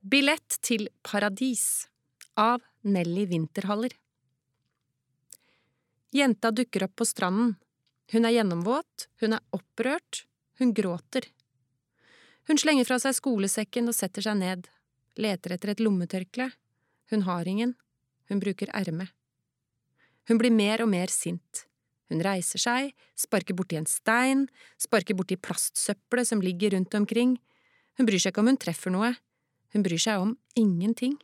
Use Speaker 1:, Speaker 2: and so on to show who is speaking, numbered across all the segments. Speaker 1: Billett til Paradis av Nelly Winterhaller. Jenta dukker opp på stranden. Hun er gjennomvåt, hun er opprørt, hun gråter. Hun slenger fra seg skolesekken og setter seg ned, leter etter et lommetørkle. Hun har ingen, hun bruker ermet. Hun blir mer og mer sint. Hun reiser seg, sparker borti en stein, sparker borti plastsøppelet som ligger rundt omkring. Hun bryr seg ikke om hun treffer noe. Hun bryr seg om ingenting.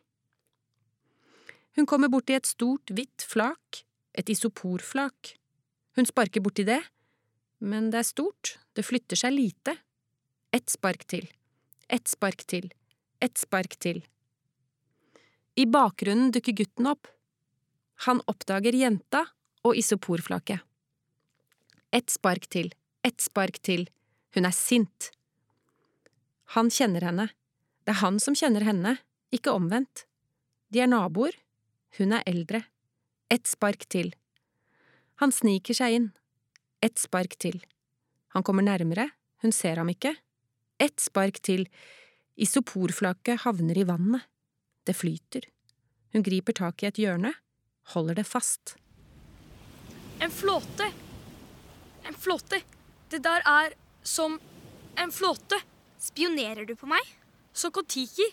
Speaker 1: Hun kommer borti et stort, hvitt flak, et isoporflak. Hun sparker borti det, men det er stort, det flytter seg lite. Ett spark til, ett spark til, ett spark til. I bakgrunnen dukker gutten opp. Han oppdager jenta og isoporflaket. Ett spark til, ett spark til, hun er sint. Han kjenner henne. Det er han som kjenner henne, ikke omvendt. De er naboer, hun er eldre. Ett spark til. Han sniker seg inn. Ett spark til. Han kommer nærmere, hun ser ham ikke. Ett spark til. Isoporflaket havner i vannet. Det flyter. Hun griper tak i et hjørne, holder det fast.
Speaker 2: En flåte. En flåte. Det der er som en flåte.
Speaker 3: Spionerer du på meg?
Speaker 2: Som Kon-Tiki.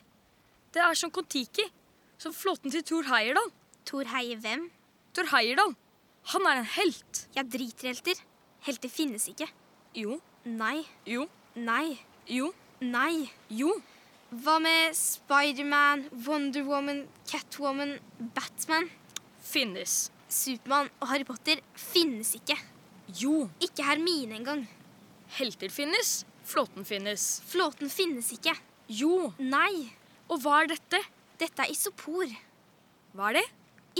Speaker 2: Det er som Kon-Tiki. Som flåten til Thor Heyerdahl.
Speaker 3: Tor heier hvem?
Speaker 2: Thor Heyerdahl. Han er en helt.
Speaker 3: Jeg driter i helter. Helter finnes ikke.
Speaker 2: Jo,
Speaker 3: Nei,
Speaker 2: jo,
Speaker 3: nei,
Speaker 2: jo,
Speaker 3: nei.
Speaker 2: jo.
Speaker 3: Hva med Spiderman, Wonder Woman, Catwoman, Batman,
Speaker 2: Finnes.
Speaker 3: Supermann og Harry Potter? Finnes ikke.
Speaker 2: Jo.
Speaker 3: Ikke Hermine engang.
Speaker 2: Helter finnes. Flåten finnes.
Speaker 3: Flåten finnes ikke.
Speaker 2: Jo.
Speaker 3: Nei.
Speaker 2: Og hva er dette?
Speaker 3: Dette er isopor.
Speaker 2: Hva er det?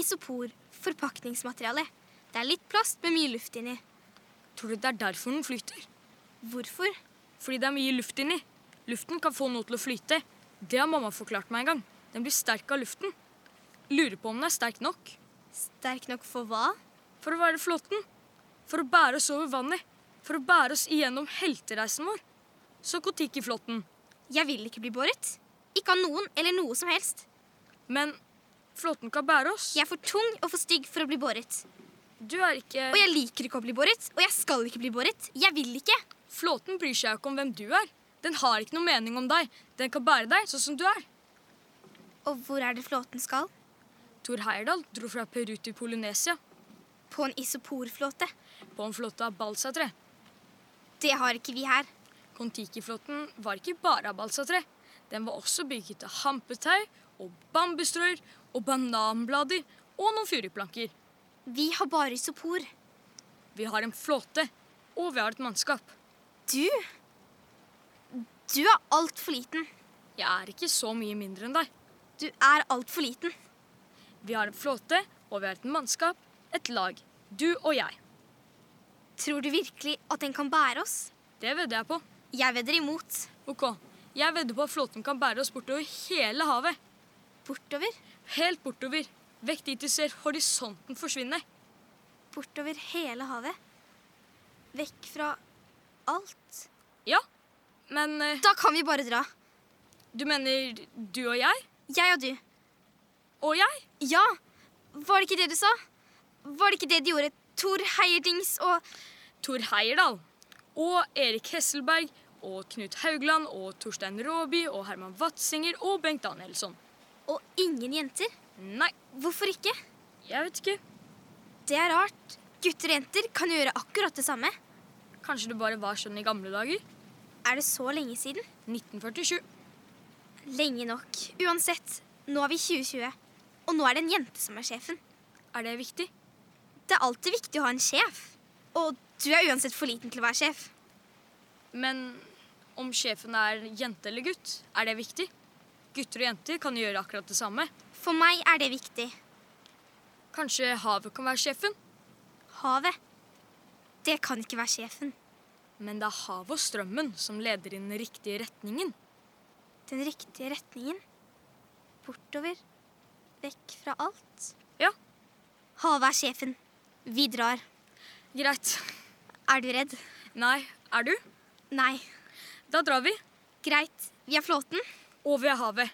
Speaker 3: Isopor. Forpakningsmateriale. Det er litt plast med mye luft inni.
Speaker 2: Tror du det er derfor den flyter?
Speaker 3: Hvorfor?
Speaker 2: Fordi det er mye luft inni. Luften kan få noe til å flyte. Det har mamma forklart meg en gang. Den blir sterk av luften. Lurer på om den er sterk nok.
Speaker 3: Sterk nok for hva?
Speaker 2: For å være flåten. For å bære oss over vannet. For å bære oss igjennom heltereisen vår. Så Kon-Tiki-flåten.
Speaker 3: Jeg vil ikke bli båret. Ikke av noen eller noe som helst.
Speaker 2: Men flåten kan bære oss.
Speaker 3: Jeg er for tung og for stygg for å bli båret.
Speaker 2: Du er ikke
Speaker 3: Og jeg liker ikke å bli båret. Og jeg skal ikke bli båret. Jeg vil ikke.
Speaker 2: Flåten bryr seg jo ikke om hvem du er. Den har ikke noe mening om deg. Den kan bære deg sånn som du er.
Speaker 3: Og hvor er det flåten skal?
Speaker 2: Thor Heyerdahl dro fra Peru til Polynesia
Speaker 3: På en isoporflåte.
Speaker 2: på en flåte av balsatre.
Speaker 3: Det har ikke vi her.
Speaker 2: Kon-Tiki-flåten var ikke bare av balsatre. Den var også bygget av hampetau og bambusstrøer og bananblader og noen furuplanker.
Speaker 3: Vi har bare isopor.
Speaker 2: Vi har en flåte, og vi har et mannskap.
Speaker 3: Du Du er altfor liten.
Speaker 2: Jeg er ikke så mye mindre enn deg.
Speaker 3: Du er altfor liten.
Speaker 2: Vi har en flåte, og vi har et mannskap, et lag. Du og jeg.
Speaker 3: Tror du virkelig at den kan bære oss?
Speaker 2: Det vedder jeg på.
Speaker 3: Jeg vedder imot.
Speaker 2: Ok, jeg vedder på at flåten kan bære oss bortover hele havet.
Speaker 3: Bortover,
Speaker 2: Helt bortover. Vekk dit du ser horisonten forsvinne.
Speaker 3: bortover hele havet. Vekk fra alt.
Speaker 2: Ja, men eh,
Speaker 3: Da kan vi bare dra.
Speaker 2: du mener du og jeg?
Speaker 3: Jeg og du.
Speaker 2: Og jeg?
Speaker 3: Ja, var det ikke det du sa? Var det ikke det de gjorde? Tor Heierdings og
Speaker 2: Tor Heyerdahl. Og Erik Hesselberg. Og Knut Haugland. Og Torstein Råby. Og Herman Watzinger. Og Bengt Danielsson.
Speaker 3: Og ingen jenter?
Speaker 2: Nei,
Speaker 3: Hvorfor ikke?
Speaker 2: jeg vet ikke.
Speaker 3: Det er rart. Gutter og jenter kan jo gjøre akkurat det samme.
Speaker 2: Kanskje det bare var sånn i gamle dager?
Speaker 3: Er det så lenge siden?
Speaker 2: 1947.
Speaker 3: Lenge nok. Uansett, nå er vi i 2020. Og nå er det en jente som er sjefen.
Speaker 2: Er det viktig?
Speaker 3: Det er alltid viktig å ha en sjef. Og du er uansett for liten til å være sjef.
Speaker 2: Men om sjefen er jente eller gutt, er det viktig? Gutter og jenter kan gjøre akkurat det samme.
Speaker 3: For meg er det viktig.
Speaker 2: Kanskje havet kan være sjefen?
Speaker 3: Havet. Det kan ikke være sjefen.
Speaker 2: Men det er havet og strømmen som leder i den riktige retningen.
Speaker 3: Den riktige retningen. Bortover. Vekk fra alt.
Speaker 2: Ja.
Speaker 3: Havet er sjefen. Vi drar.
Speaker 2: Greit.
Speaker 3: Er du redd?
Speaker 2: Nei, er du?
Speaker 3: Nei.
Speaker 2: Da drar vi.
Speaker 3: Greit. Vi er flåten.
Speaker 2: Over havet.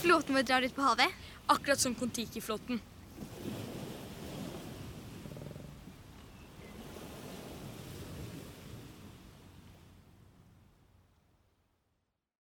Speaker 3: Flåten vår drar ut på havet.
Speaker 2: Akkurat som Kon-Tiki-flåten.